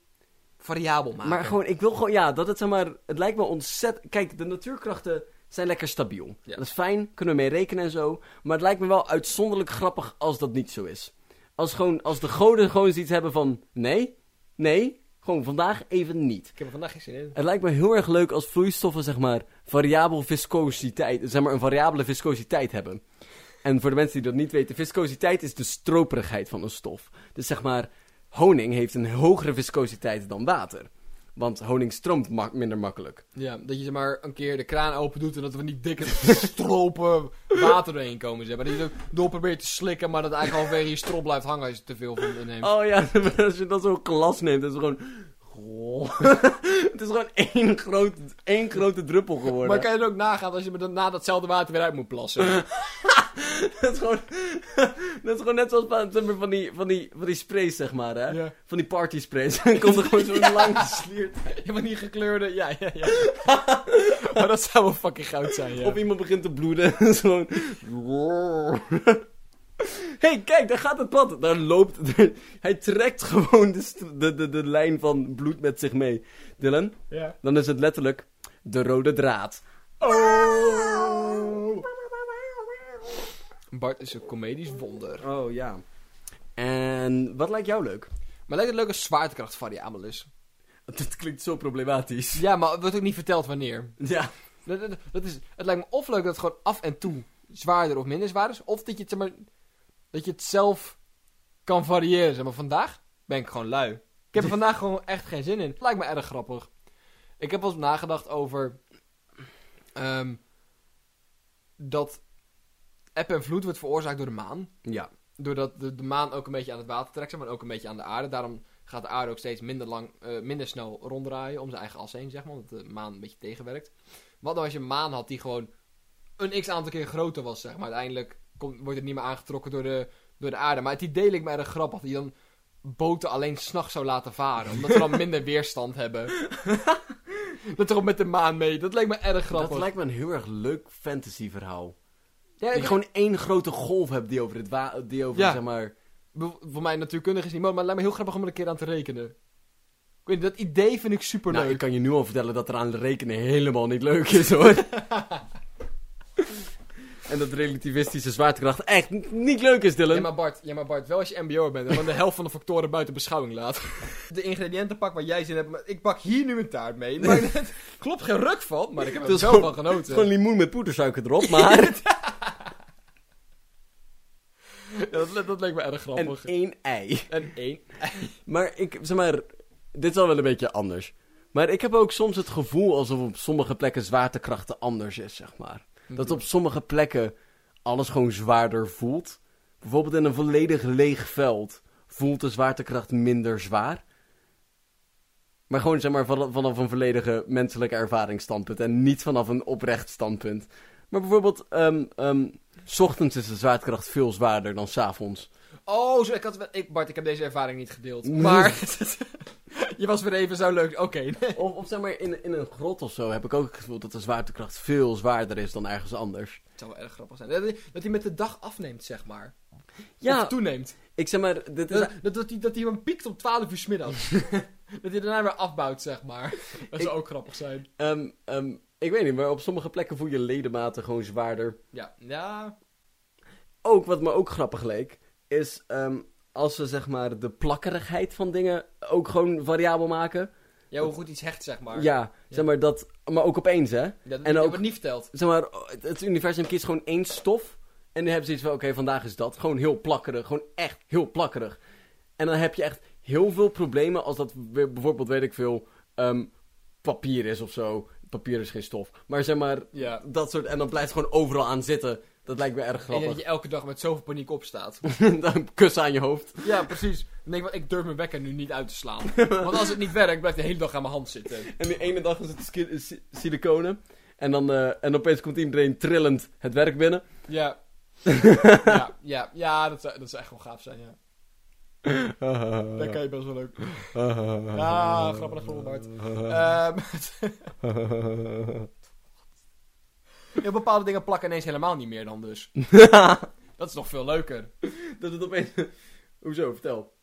B: variabel maken.
A: Maar gewoon, ik wil gewoon, ja, dat het zeg maar, het lijkt me ontzettend. Kijk, de natuurkrachten zijn lekker stabiel.
B: Ja.
A: Dat is fijn, kunnen we mee rekenen en zo. Maar het lijkt me wel uitzonderlijk grappig als dat niet zo is. Als, gewoon, als de goden gewoon zoiets hebben van, nee, nee, gewoon vandaag even niet.
B: Ik heb er vandaag geen zin in.
A: Het lijkt me heel erg leuk als vloeistoffen, zeg maar, variabel viscositeit, zeg maar, een variabele viscositeit hebben. En voor de mensen die dat niet weten, viscositeit is de stroperigheid van een stof. Dus zeg maar, honing heeft een hogere viscositeit dan water. Want honing stroomt mak- minder makkelijk.
B: Ja, dat je zeg maar een keer de kraan open doet en dat we niet dikke <laughs> stropen water doorheen komen. Zeg maar. Dat je er door probeert te slikken, maar dat eigenlijk halverwege je strop blijft hangen als je te veel van neemt.
A: Oh ja, <laughs> als je dat zo'n glas neemt, is het gewoon... <laughs> Goh. het is gewoon één, groot, één grote druppel geworden.
B: maar kan je er ook nagaan als je met dat- na datzelfde water weer uit moet
A: <laughs>
B: plassen?
A: dat, is gewoon, <laughs> dat is gewoon net zoals van, zeg maar, van, die, van, die, van die sprays, zeg maar, hè?
B: Ja.
A: Van die party sprays. <laughs> Dan komt er gewoon
B: <laughs>
A: zo'n lang geslierd.
B: Helemaal niet gekleurde, ja, ja, ja. maar dat zou wel fucking goud zijn, ja.
A: Of iemand begint te bloeden. <laughs> Dat is gewoon... <laughs> hey, kijk, daar gaat het pad. Daar loopt... <laughs> Hij trekt gewoon de, str- de, de, de lijn van bloed met zich mee. Dylan,
B: ja.
A: dan is het letterlijk de rode draad.
B: Oh. Bart is een comedisch wonder.
A: Oh, ja. En wat lijkt jou leuk?
B: Maar lijkt het leuk als zwaartekracht variabel is. <laughs>
A: Dit klinkt zo problematisch.
B: Ja, maar het wordt ook niet verteld wanneer.
A: Ja.
B: Dat, dat, dat is, het lijkt me of leuk dat het gewoon af en toe zwaarder of minder zwaar is. Of dat je het, zeg maar, dat je het zelf kan variëren. Zeg maar vandaag ben ik gewoon lui. Ik heb er vandaag gewoon echt geen zin in. Het lijkt me erg grappig. Ik heb wel eens nagedacht over... ehm, dat eb en vloed wordt veroorzaakt door de maan.
A: Ja.
B: Doordat de, de maan ook een beetje aan het water trekt, zeg maar en ook een beetje aan de aarde. Daarom gaat de aarde ook steeds minder, lang, eh, minder snel ronddraaien om zijn eigen as heen, zeg maar. Omdat de maan een beetje tegenwerkt. Wat nou als je een maan had die gewoon een x-aantal keer groter was, zeg maar. Uiteindelijk komt, wordt het niet meer aangetrokken door de, door de aarde. Maar het idee leek me erg grappig. Dat je dan boten alleen s'nachts zou laten varen. Omdat ze
A: <laughs>
B: dan minder weerstand hebben. dat toch met de maan mee. Dat leek me erg grappig.
A: Dat lijkt me een heel erg leuk fantasy verhaal.
B: ja,
A: Dat
B: ik-
A: je gewoon één grote golf hebt die over het wa die over,
B: Ja.
A: zeg maar...
B: Bev- Voor mij natuurkundig is niet mogelijk, maar het lijkt me heel grappig om er een keer aan te rekenen. Ik weet niet, dat idee vind ik super
A: Nou, ik
B: leuk.
A: kan je nu al vertellen dat er aan rekenen helemaal niet leuk is,
B: <laughs>
A: hoor. en dat relativistische zwaartekracht echt n- niet leuk is, Dylan.
B: Ja maar, Bart, ja, maar Bart, wel als je MBO'er bent en gewoon de helft van de factoren buiten beschouwing laat. <laughs> De ingrediënten pak waar jij zin hebt, maar ik pak hier nu een taart mee. Het <laughs> maakt net- klopt geen ruk van, maar ik heb
A: Het
B: er
A: is
B: zo
A: gewoon-
B: van
A: Het is
B: genoten.
A: gewoon limoen met poedersuiker erop,
B: <laughs>
A: maar...
B: Ja, dat, dat leek me erg
A: en
B: grappig.
A: één ei.
B: En één.
A: Maar ik, zeg maar, dit is al wel een beetje anders. Maar ik heb ook soms het gevoel alsof op sommige plekken zwaartekrachten anders is, zeg maar. Dat op sommige plekken alles gewoon zwaarder voelt. Bijvoorbeeld in een volledig leeg veld voelt de zwaartekracht minder zwaar. Maar gewoon zeg maar van- vanaf een volledige menselijke ervaringsstandpunt en niet vanaf een oprecht standpunt. Maar bijvoorbeeld, ehm ehm, 's ochtends is de zwaartekracht veel zwaarder dan 's avonds.
B: Oh, zo, ik had wel... Ik, Bart, ik heb deze ervaring niet gedeeld. Maar... <laughs> je was weer even zo leuk. Oké.
A: Of, of zeg maar, in, in een grot of zo heb ik ook het gevoel dat de zwaartekracht veel zwaarder is dan ergens anders.
B: Het zou wel erg grappig zijn. Dat hij- dat hij met de dag afneemt, zeg maar.
A: Ja,
B: Of toeneemt.
A: ik zeg maar, dit is,
B: Dat, Dus dat, dat, die, dat die hem piekt om 12 uur 's middags. <laughs> dat hij daarna weer afbouwt, zeg maar. Dat zou ook grappig zijn.
A: ehm, ehm, ik weet niet, maar op sommige plekken voel je ledematen gewoon zwaarder.
B: Ja, ja.
A: Ook, wat me ook grappig leek, is ehm, als ze zeg maar de plakkerigheid van dingen ook gewoon variabel maken.
B: ja hoe goed iets hecht, zeg maar.
A: ja, zeg maar dat, maar ook opeens hè.
B: Dat,
A: en
B: en
A: ook-
B: ook niet verteld.
A: Zeg maar, het, het universum kiest gewoon één stof. En dan hebben ze iets van, oké, vandaag is dat. Gewoon heel plakkerig. Gewoon echt heel plakkerig. En dan heb je echt heel veel problemen als dat weer bijvoorbeeld, weet ik veel, ehm, papier is of zo. Papier is geen stof. Maar zeg maar,
B: Ja.
A: dat soort... En dan blijft het gewoon overal aan zitten. Dat lijkt me erg
B: En dat
A: grappig.
B: je elke dag met zoveel paniek opstaat.
A: <laughs> Dan kussen aan je hoofd.
B: ja, precies. Dan denk ik, want ik durf mijn wekker nu niet uit te <laughs> slaan. Want als het niet werkt, blijft de hele dag aan mijn hand zitten.
A: En die ene dag is het ski- si- siliconen. En dan eh, en opeens komt iedereen trillend het werk
B: <laughs>
A: binnen.
B: Ja. ja, ja, ja, dat zou, dat zou echt wel gaaf zijn, ja.
A: Oh, <laughs>
B: Dat kan je best wel leuk. Ja, grappig, grappig, Bart. Ehm, <laughs> ja, bepaalde dingen plakken ineens helemaal niet meer dan <laughs> dus. dat is nog veel leuker.
A: <laughs> Dat het opeens... Hoezo? Vertel.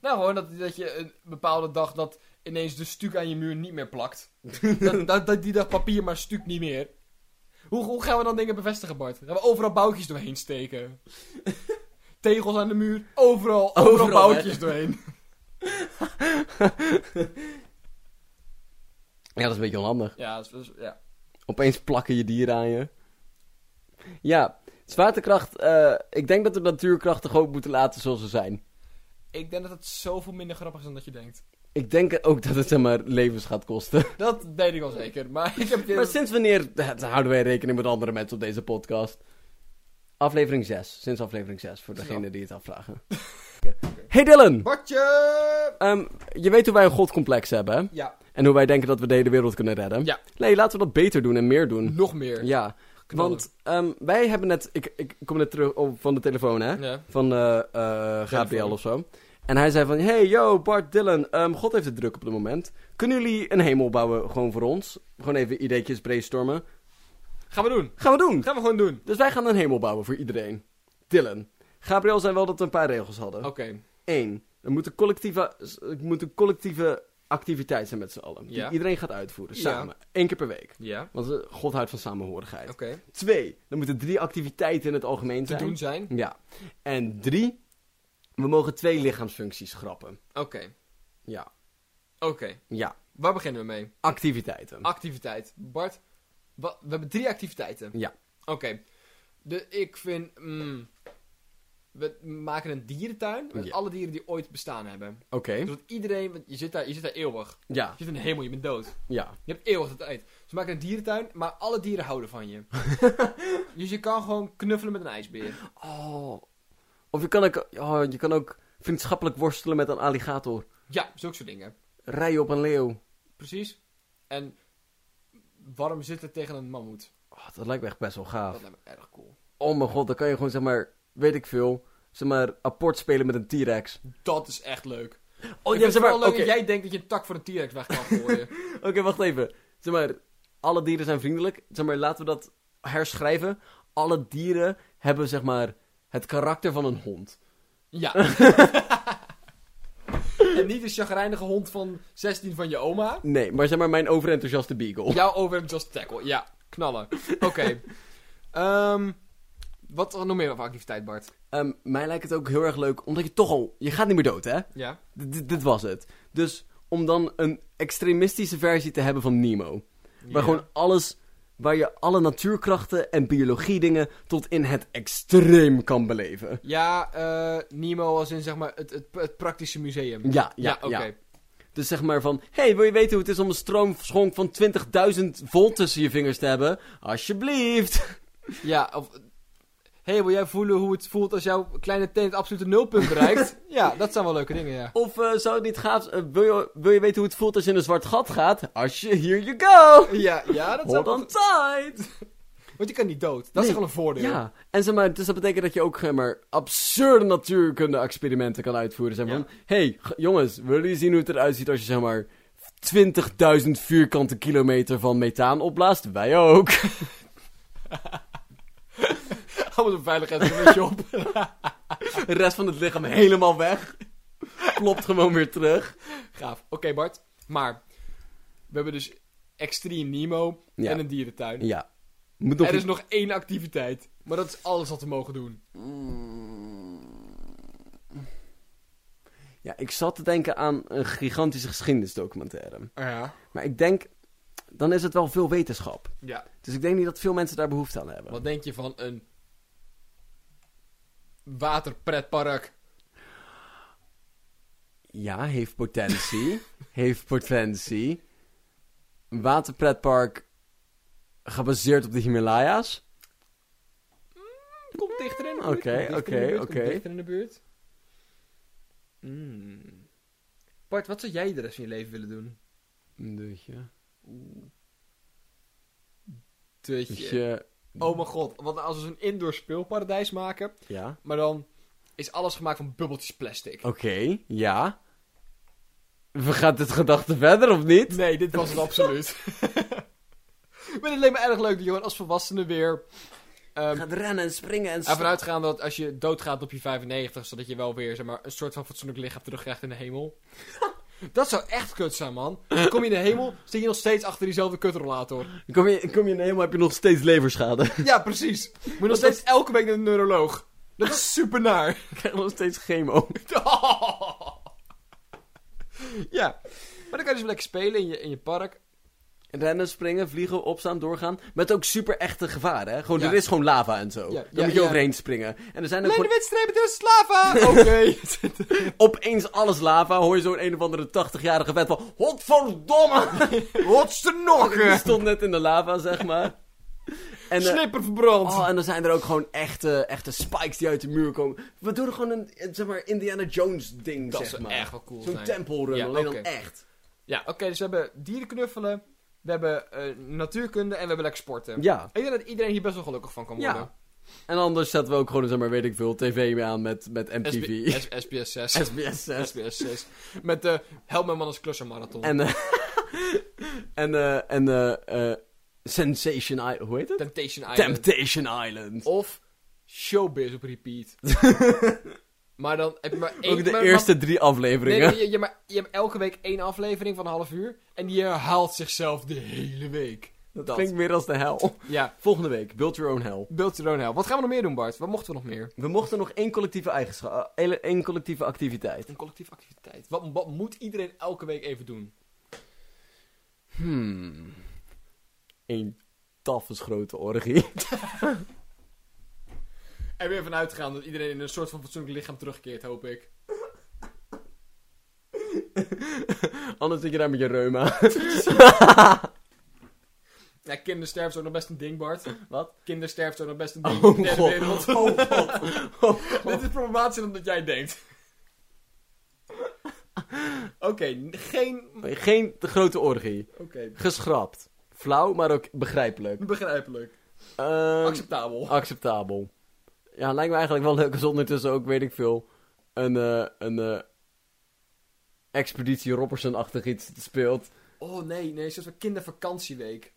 B: Nou, gewoon dat, dat je een bepaalde dag dat ineens de stuk aan je muur niet meer plakt. <laughs> dat, dat, dat, die dag papier, maar stuk niet meer. Hoe, hoe gaan we dan dingen bevestigen, Bart? Gaan we overal boutjes doorheen <laughs> steken? Tegels aan de muur, overal, overal,
A: Overal,
B: boutjes
A: hè?
B: doorheen.
A: Ja, dat is een beetje onhandig.
B: <laughs> Ja, dat is- dat is- ja.
A: Opeens plakken je dieren aan je. Ja, zwaartekracht. eh, ik denk dat we natuurkrachten gewoon moeten laten zoals ze zijn.
B: Ik denk dat het zoveel minder grappig is dan dat je denkt.
A: Ik denk ook dat het zeg maar levens gaat <laughs> kosten.
B: Dat weet ik wel zeker, maar ik heb het idee
A: Maar
B: dat-
A: sinds wanneer eh, houden wij rekening met andere mensen op deze podcast? Aflevering 6. Sinds aflevering 6, voor degenen die het afvragen. <laughs> Hey Dylan!
B: Bartje!
A: Ehm, je weet hoe wij een godcomplex hebben, hè?
B: Ja,
A: En hoe wij denken dat we de hele wereld kunnen redden.
B: Ja.
A: Nee, laten we dat beter doen en meer doen.
B: nog meer.
A: Ja.
B: Knallen.
A: Want ehm, wij hebben net... Ik, ik kom net terug op, van de telefoon, hè?
B: Ja.
A: Van eh, eh, Gabriel of zo. En hij zei van... Hey, yo, Bart, Dylan. ehm, God heeft het druk op dit moment. Kunnen jullie een hemel bouwen gewoon voor ons? Gewoon even ideetjes brainstormen.
B: Gaan we doen.
A: Gaan we doen!
B: Gaan we gewoon doen.
A: Dus wij gaan een hemel bouwen voor iedereen. Dylan. Gabriel zei wel dat we een paar regels hadden.
B: Oké.
A: 1. Er moet een collectieve, het moet een collectieve activiteit zijn met z'n allen. Die
B: Ja.
A: iedereen gaat uitvoeren,
B: Ja.
A: samen. Eén keer per week.
B: Ja.
A: Want eh, God houdt van samenhorigheid.
B: Oké.
A: Twee, er moeten drie activiteiten in het algemeen
B: Te
A: zijn.
B: doen zijn.
A: Ja. En drie, we mogen twee lichaamsfuncties grappen.
B: Oké.
A: Ja.
B: Oké.
A: Ja.
B: Waar beginnen we mee?
A: Activiteiten.
B: Ah. Activiteit. Bart, wa- we hebben drie activiteiten.
A: ja.
B: Oké. De, ik vind... mm, we maken een dierentuin met
A: Ja.
B: alle dieren die ooit bestaan hebben.
A: Oké.
B: Dus dat iedereen... want Je zit, daar, je zit daar eeuwig.
A: Ja.
B: Je zit in de hemel, je bent dood.
A: Ja.
B: Je hebt eeuwig de tijd. Ze maken een dierentuin, maar alle dieren houden van
A: <laughs>
B: je. dus je kan gewoon knuffelen met een ijsbeer.
A: Oh. Of je kan ook, oh, je kan ook vriendschappelijk worstelen met een alligator.
B: Ja, zulke soort dingen.
A: Rijden op een leeuw.
B: Precies. En warm zitten tegen een mammoet.
A: Oh, dat lijkt me echt best wel
B: Dat
A: gaaf.
B: lijkt me erg cool.
A: Oh mijn god, dan kan je gewoon zeg maar, weet ik veel, zeg maar, apport spelen met een T-Rex.
B: Dat is echt leuk.
A: Oh,
B: ik
A: je hebt
B: vind
A: zeg
B: het
A: maar,
B: wel
A: oké,
B: leuk dat jij denkt dat je een tak voor een T-Rex weg kan
A: <laughs>
B: gooien.
A: Oké, wacht even. Zeg maar, alle dieren zijn vriendelijk. Zeg maar, laten we dat herschrijven. Alle dieren hebben, zeg maar, het karakter van een hond. <laughs>
B: ja. en niet de chagrijnige hond van 16 van je oma.
A: Nee, maar zeg maar, mijn overenthousiaste beagle.
B: Jouw over just tackle. Ja, knallen. Oké.
A: <laughs>
B: Ehm, wat nog meer voor activiteit, Bart?
A: Ehm, mij lijkt het ook heel erg leuk, omdat je toch al... Je gaat niet meer dood, hè?
B: Ja.
A: D- d- dit was het. Dus om dan een extremistische versie te hebben van Nemo. Waar gewoon alles... Waar je alle natuurkrachten en biologie dingen tot in het extreem kan beleven.
B: Ja, eh, Nemo als in zeg maar het, het, het praktische museum.
A: Ja, ja,
B: oké.
A: ja. Dus zeg maar van, hey, wil je weten hoe het is om een stroomschonk van 20.000 volt tussen je vingers te hebben? Alsjeblieft. <laughs>
B: Ja, of... hey, wil jij voelen hoe het voelt als jouw kleine teen het absolute nulpunt
A: <laughs>
B: bereikt? ja, dat zijn wel leuke dingen, ja.
A: Of eh, zou het niet gaaf, eh, wil, je, wil je weten hoe het voelt als je in een zwart gat gaat? Als je, here you go. <laughs>
B: Ja, ja, dat
A: Hold on tight.
B: Want je kan niet dood. Dat
A: Nee.
B: is toch wel een voordeel? <laughs>
A: Ja, en zeg maar, dus dat betekent dat je ook zeg maar, absurde natuurkunde-experimenten kan uitvoeren. Zeg maar,
B: Ja.
A: van, hey, g- jongens, willen jullie zien hoe het eruit ziet als je zeg maar 20.000 vierkante kilometer van methaan opblaast? Wij ook.
B: Allemaal zo'n veiligheidsgewetje op. <laughs>
A: De rest van het lichaam helemaal weg. Klopt gewoon weer terug.
B: Gaaf. Oké, Bart. Maar, we hebben dus extreem Nemo
A: Ja.
B: en een dierentuin.
A: Ja. Moet nog
B: er is
A: iets-
B: nog één activiteit. Maar dat is alles wat we mogen doen.
A: Ja, ik zat te denken aan een gigantische geschiedenisdocumentaire.
B: Ja.
A: Maar ik denk, dan is het wel veel wetenschap.
B: Ja.
A: Dus ik denk niet dat veel mensen daar behoefte aan hebben.
B: Wat denk je van een waterpretpark?
A: Ja, heeft potentie. <laughs> heeft potentie. Een waterpretpark gebaseerd op de Himalaya's.
B: Komt dichter in
A: Oké,
B: de buurt. komt dichter in de
A: oké,
B: buurt, komt
A: oké.
B: dichter in de buurt. Mm. Bart, wat zou jij de rest van je leven willen doen?
A: Dutje.
B: Tutje.
A: Dutje.
B: Oh mijn god, want als we zo'n indoor speelparadijs maken,
A: Ja.
B: maar dan is alles gemaakt van bubbeltjes plastic.
A: Oké, ja. We gaan dit gedachte verder, of niet?
B: Nee, dit was het <laughs> absoluut. maar het leek me erg leuk dat je gewoon als volwassene weer... ehm,
A: Gaat rennen en springen en
B: Ervan uitgaan dat als <laughs> je doodgaat op je 95, zodat je wel weer zeg maar, een soort van fatsoenlijk lichaam terugkrijgt in de hemel. Dat zou echt kut zijn, man. Dan kom je in de hemel, zit je nog steeds achter diezelfde kutrollator.
A: Dan Kom je, kom je in de hemel, heb je nog steeds leverschade.
B: Ja, precies. Moet je nog steeds elke week naar de neuroloog. Dat is super naar.
A: <laughs> Ik krijg nog steeds chemo.
B: ja. Maar dan kan je dus lekker spelen in je, in je park.
A: Rennen, springen, vliegen, opstaan, doorgaan. Met ook super echte gevaar, hè? Gewoon,
B: Ja.
A: er is gewoon lava en zo.
B: Ja,
A: Dan
B: ja,
A: moet je
B: ja.
A: overheen springen. En er zijn ook
B: Alleen
A: gewoon
B: de wedstrijden tussen slaven. <laughs> Oké.
A: opeens alles lava. Hoor je zo'n een of andere 80-jarige vet van... Godverdomme!
B: <laughs>
A: <laughs>
B: Rotste
A: Die
B: nokken.
A: stond net in de lava, zeg maar. En, eh,
B: Slipper verbrand.
A: Oh, en dan zijn er ook gewoon echte, echte spikes die uit de muur komen. We doen er gewoon een, eh, zeg maar, Indiana Jones ding,
B: dat
A: zeg
B: zou
A: maar.
B: echt wel cool
A: Zo'n
B: zijn.
A: tempelrun,
B: Ja,
A: alleen
B: oké.
A: dan echt.
B: Ja, oké, dus we hebben dierenknuffelen. We hebben eh, natuurkunde en we hebben lekker sporten.
A: Ja.
B: Ik denk dat iedereen hier best wel gelukkig van kan
A: Ja.
B: worden.
A: En anders zetten we ook gewoon, zeg maar, weet ik veel, tv aan met, met MTV.
B: SB SBS 6.
A: <laughs> SBS
B: <laughs>
A: 6.
B: SBS 6. Met de Help Mijn Man als Klussenmarathon.
A: En, eh, <laughs> en, eh, en eh, eh, Sensation Island, hoe heet het?
B: Temptation Island.
A: Temptation Island.
B: of Showbiz op
A: <laughs>
B: repeat. maar dan heb je maar één...
A: Ook de
B: maar-
A: eerste drie
B: Nee,
A: afleveringen.
B: nee, je, je, maar, je hebt elke week één aflevering van een half uur. En die herhaalt zichzelf de hele week.
A: <laughs> dat klinkt meer als de hel.
B: Ja.
A: Volgende week, Build Your Own Hell.
B: Build your own hell. nou. Wat gaan we nog meer doen, Bart? Wat mochten we nog meer?
A: We mochten nog één collectieve eigenschap, eh, één collectieve activiteit.
B: Een collectieve activiteit. Wat, wat moet iedereen elke week even doen?
A: Hmm. Eén tafels grote orgie. <laughs>
B: En weer vanuit gaan dat iedereen in een soort van fatsoenlijk lichaam terugkeert, hoop ik.
A: Anders zit je daar met je reuma. <laughs>
B: Ja, kindersterfte is ook nog best een ding, Bart.
A: Wat?
B: Kindersterfte is ook nog best een ding
A: Oh,
B: in de derde
A: God.
B: wereld.
A: Oh, god.
B: <laughs> Dit is problematischer dan dat jij denkt.
A: <laughs>
B: Oké, n- geen...
A: Geen te grote orgie.
B: Oké,
A: Geschrapt. Flauw, maar ook begrijpelijk.
B: begrijpelijk.
A: Ehm,
B: Acceptabel.
A: acceptabel. Ja, lijkt me eigenlijk wel leuk als ondertussen ook, weet ik veel, een, eh, een eh, Expeditie Robertson-achtig iets speelt.
B: Oh nee, nee, zoals een kindervakantieweek.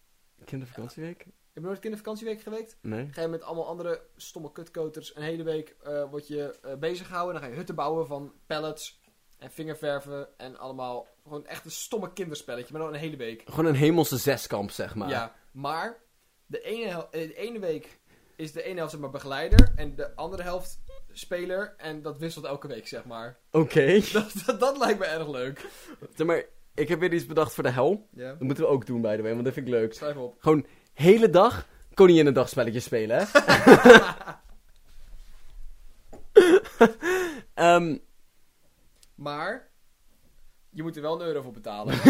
A: Kindervakantieweek?
B: Heb je nooit kindervakantieweek geweekt?
A: Nee.
B: Ga je met allemaal andere stomme kutkoters een hele week eh word je eh, bezig gehouden. En dan ga je hutten bouwen van pallets en vingerverven en allemaal... Gewoon echt een stomme kinderspelletje, maar dan een hele week.
A: Gewoon een hemelse zeskamp, zeg maar.
B: Ja, maar de ene, hel- eh, de ene week is de ene helft zeg maar begeleider en de andere helft speler. En dat wisselt elke week, zeg maar. <laughs>
A: Oké.
B: Dat, dat, dat lijkt me erg leuk.
A: Zeg maar, ik heb weer iets bedacht voor de hel.
B: Ja.
A: Dat moeten we ook doen, by the way, want dat vind ik leuk.
B: Schrijf op.
A: Gewoon hele dag koninginnedag spelletjes spelen, <laughs> hè? Ehm,
B: Maar je moet er wel een euro voor betalen.
A: <laughs>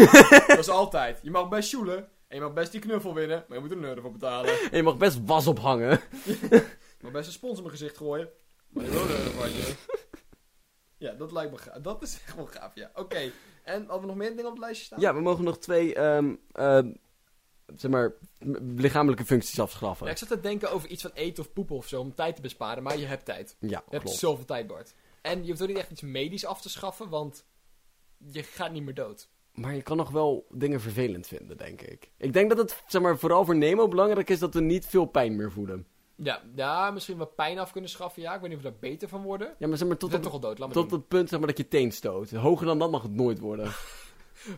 B: dat is altijd. Je mag best joelen en je mag best die knuffel winnen, maar je moet er een euro voor betalen.
A: en je mag best was ophangen.
B: Je mag best een spons in mijn gezicht gooien, maar je wil een euro van je. Ja, dat lijkt me gaaf. Dat is echt wel gaaf, ja. Oké, en hadden we nog meer dingen op het lijstje staan?
A: Ja, we mogen nog twee, ehm, ehm, zeg maar, m- lichamelijke functies afschaffen.
B: Ja, ik zat te denken over iets van eten of poepen of zo om tijd te besparen, maar je hebt tijd.
A: Ja,
B: Je hebt
A: klopt.
B: zoveel tijd, Bart. En je hoeft ook niet echt iets medisch af te schaffen, want je gaat niet meer dood.
A: Maar je kan nog wel dingen vervelend vinden, denk ik. Ik denk dat het, zeg maar, vooral voor Nemo belangrijk is dat we niet veel pijn meer voelen.
B: Ja, ja misschien wat pijn af kunnen schaffen, ja. Ik weet niet of we daar beter van worden.
A: Ja, maar zeg maar, tot,
B: Tot dan
A: op,
B: toch al dood, laat maar
A: tot
B: doen.
A: het punt, zeg maar, dat je teen stoot. Hoger dan dat mag het nooit worden.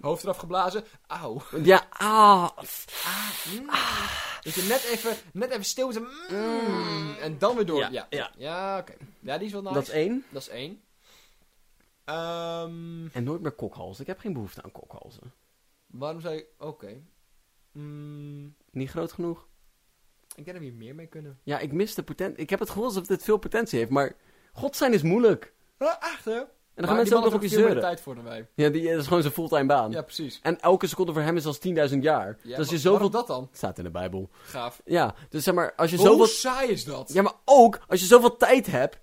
B: Hoofd eraf geblazen, auw.
A: ja, ah,
B: Dat je net even, net even stil is en, mm, en dan weer door.
A: Ja,
B: Ja, ja.
A: ja.
B: oké. Ja, die is wel nice.
A: dat is één.
B: Dat is één. Ehm,
A: En nooit meer kokhalzen. Ik heb geen behoefte aan kokhalzen.
B: waarom zou je... Oké. Mm,
A: Niet groot genoeg.
B: ik denk dat we hier meer mee kunnen.
A: Ja, ik mis de potentie. Ik heb het gevoel alsof dit veel potentie heeft, maar godzijn is moeilijk. En
B: Ah, echt, hè?
A: dan gaan mensen ook nog op je
B: veel meer
A: zeuren.
B: tijd voor dan wij.
A: Ja, die, eh, dat is gewoon zijn fulltime baan.
B: Ja, precies.
A: En elke seconde voor hem is als 10.000 jaar.
B: Ja,
A: dus als je
B: maar
A: zoveel...
B: waarom dat dan?
A: <laughs> Staat in de Bijbel.
B: Gaaf.
A: Ja, dus zeg maar, als je
B: Hoe
A: zoveel...
B: saai is dat?
A: Ja, maar ook, als je zoveel tijd hebt...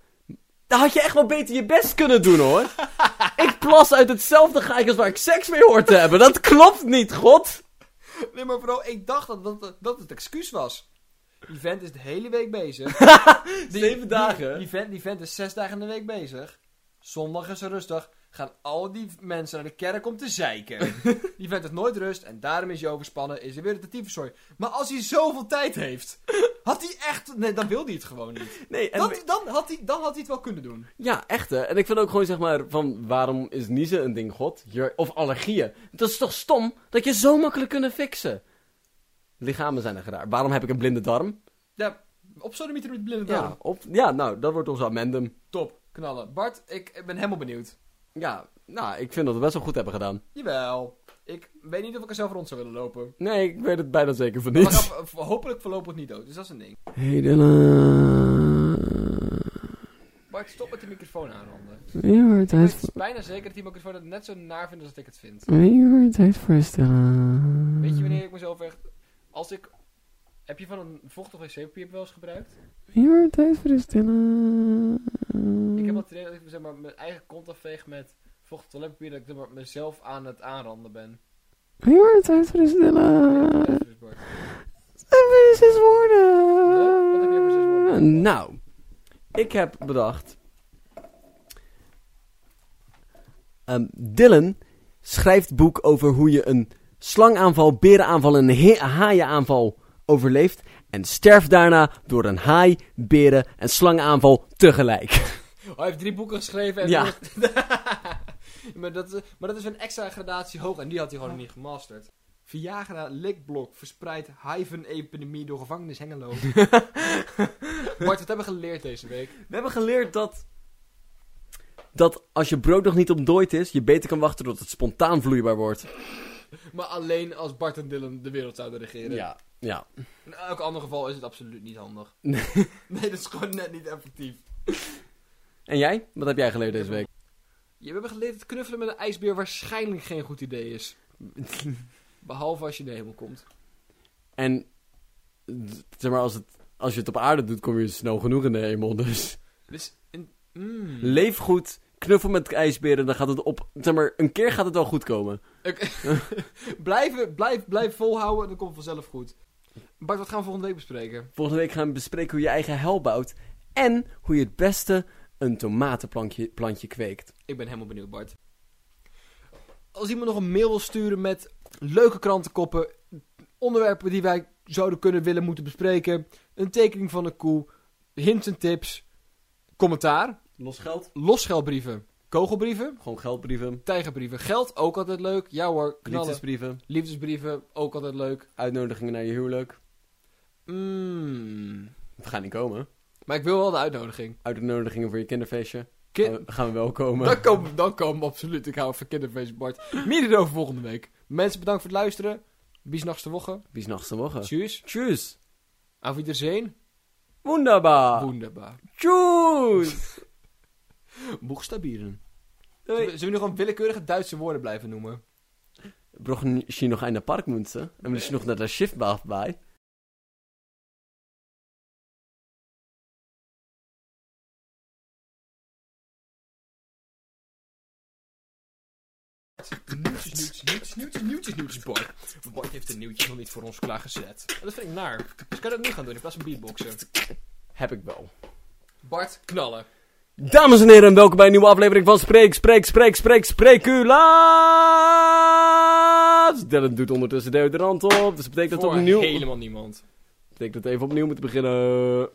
A: Dan had je echt wel beter je best kunnen doen,
B: <laughs>
A: hoor. ik plas uit hetzelfde gaatje als waar ik seks mee hoor te hebben. Dat klopt niet,
B: <laughs>
A: god.
B: Nee, maar vooral, ik dacht dat, dat, dat het excuus was. Die vent is de hele week bezig. Die-
A: Zeven dagen.
B: Die, die, vent, die vent is zes dagen in de week bezig. Zondag is er rustig. gaan al die mensen naar de kerk om te
A: <laughs>
B: zeiken. die vindt het nooit rust en daarom is hij overspannen, is hij weer de tyfuszooi. Maar als hij zoveel tijd heeft, had hij echt... Nee, dan wilde hij het gewoon niet.
A: Nee, en
B: Dan, dan, had hij, dan had hij het wel kunnen doen.
A: Ja, echt hè. En ik vind ook gewoon zeg maar van waarom is niezen een ding god? Je- Of allergieën. Dat is toch stom dat je zo makkelijk kunnen fixen? Lichamen zijn er raar. Waarom heb ik een blinde darm?
B: Ja, op sodomieter met blinde darm.
A: Ja, op, ja nou, dat wordt ons amendum.
B: Top, knallen. Bart, ik ben helemaal benieuwd.
A: Ja, nou, ik vind dat we best wel goed hebben gedaan.
B: Jawel. Ik weet niet of ik er zelf rond zou willen lopen.
A: Nee, ik weet het bijna zeker van
B: Maar
A: niet.
B: hop- hopelijk voorlopig niet dood, dus dat is een ding.
A: Hey Dylan.
B: Bart, stop met de microfoon aanranden.
A: Je wordt
B: Het is Mm. bijna zeker dat die microfoon het net zo naar vindt als dat ik het vind.
A: Je wordt tijd voor Stella.
B: Weet je wanneer ik mezelf echt... Als ik... Heb je van een vochtig wc-papier wel eens gebruikt?
A: Je wordt tijd voor Stella.
B: Ik heb al trainen dat ik zeg maar, mijn eigen kont afveeg met vochtig toiletpapier. Dat ik zeg maar, mezelf aan het aanranden ben.
A: Je wordt tijd voor
B: Dat
A: Stella.
B: is dus, Bart.
A: En weer zes woorden.
B: Ja, wat heb jij voor zes
A: <laughs>
B: woorden?
A: Nou, ik heb bedacht. Ehm, Dylan schrijft boek over hoe je een slangaanval, berenaanval en een he- haaienaanval overleeft. En sterft daarna door een haai, beren en slangaanval tegelijk.
B: Oh, hij heeft drie boeken geschreven en...
A: Ja.
B: <laughs> maar, dat, is- maar dat is een extra gradatie hoog en die had hij gewoon niet gemasterd. Viagra likblok verspreidt hyven-epidemie door gevangenis <laughs> Hengelo. Bart, wat hebben we geleerd deze week?
A: We hebben geleerd dat. Dat als je brood nog niet ontdooid is, je beter kan wachten tot het spontaan vloeibaar wordt.
B: Maar alleen als Bart en Dylan de wereld zouden regeren.
A: ja.
B: In elk ander geval is het absoluut niet
A: <laughs>
B: handig.
A: Nee.
B: nee, dat is gewoon net niet effectief.
A: En jij? Wat heb jij geleerd deze week?
B: Je hebt geleerd dat knuffelen met een ijsbeer waarschijnlijk geen goed idee
A: <laughs>
B: is. Behalve als je in de hemel komt.
A: En d- zeg maar, als, het, als je het op aarde doet, kom je snel genoeg in de hemel. Dus
B: Dus, in, mm.
A: leef goed, knuffel met ijsberen, dan gaat het op. Zeg maar, een keer gaat het wel goed komen.
B: <laughs> Oké. <laughs> blijf, blijf, blijf volhouden en dan komt het vanzelf goed. Bart, wat gaan we volgende week bespreken?
A: Volgende week gaan we bespreken hoe je eigen hel bouwt. En hoe je het beste een tomatenplantje plantje kweekt.
B: Ik ben helemaal benieuwd, Bart. Als iemand nog een mail wil sturen met leuke krantenkoppen, onderwerpen die wij zouden kunnen willen moeten bespreken, een tekening van een koe, hints en tips, commentaar,
A: Los geld?
B: losgeldbrieven, kogelbrieven,
A: Gewoon geldbrieven.
B: tijgerbrieven, geld ook altijd leuk, ja hoor, knallen,
A: Liefdesbrieven.
B: liefdesbrieven ook altijd leuk.
A: Uitnodigingen naar je huwelijk.
B: Mm.
A: We gaan niet komen.
B: Maar ik wil wel de uitnodiging.
A: Uitnodigingen voor je kinderfeestje.
B: Ki-
A: Gaan we- gaan we wel komen.
B: Dan komen, dan komen we absoluut. Ik hou van kinderfeest, Bart. Meer hierover volgende week. Mensen, bedankt voor het luisteren. Bis nachts de woche.
A: Bis nachts te morgen.
B: Tjus.
A: Tjus.
B: Auf Wiedersehen. Ah.
A: Wunderbar.
B: Wunderbar.
A: Tjus. <laughs>
B: Buchstabieren. Zullen we,
A: Doei.
B: zullen we nu gewoon willekeurige Duitse woorden blijven noemen?
A: Brochen sie noch eine Parkmünze? Dann will ich noch nach der Schiffbahn bei.
B: Nieuwtjes, nieuwtjes, nieuwtjes, nieuwtjes, nieuwtjes, nieuwtjes, Bart. Bart heeft de nieuwtjes nog niet voor ons klaargezet. En dat vind ik naar. Dus kan je dat nu gaan doen in plaats van beatboxen.
A: Heb ik wel.
B: Bart, knallen.
A: Dames en heren, welkom bij een nieuwe aflevering van Spreek, Spreek, Spreek, Spreek, Spreekulaas! Dylan doet ondertussen deodorant op, dus dat betekent dat, we
B: Voor
A: opnieuw...
B: helemaal niemand.
A: betekent dat we even opnieuw moeten beginnen.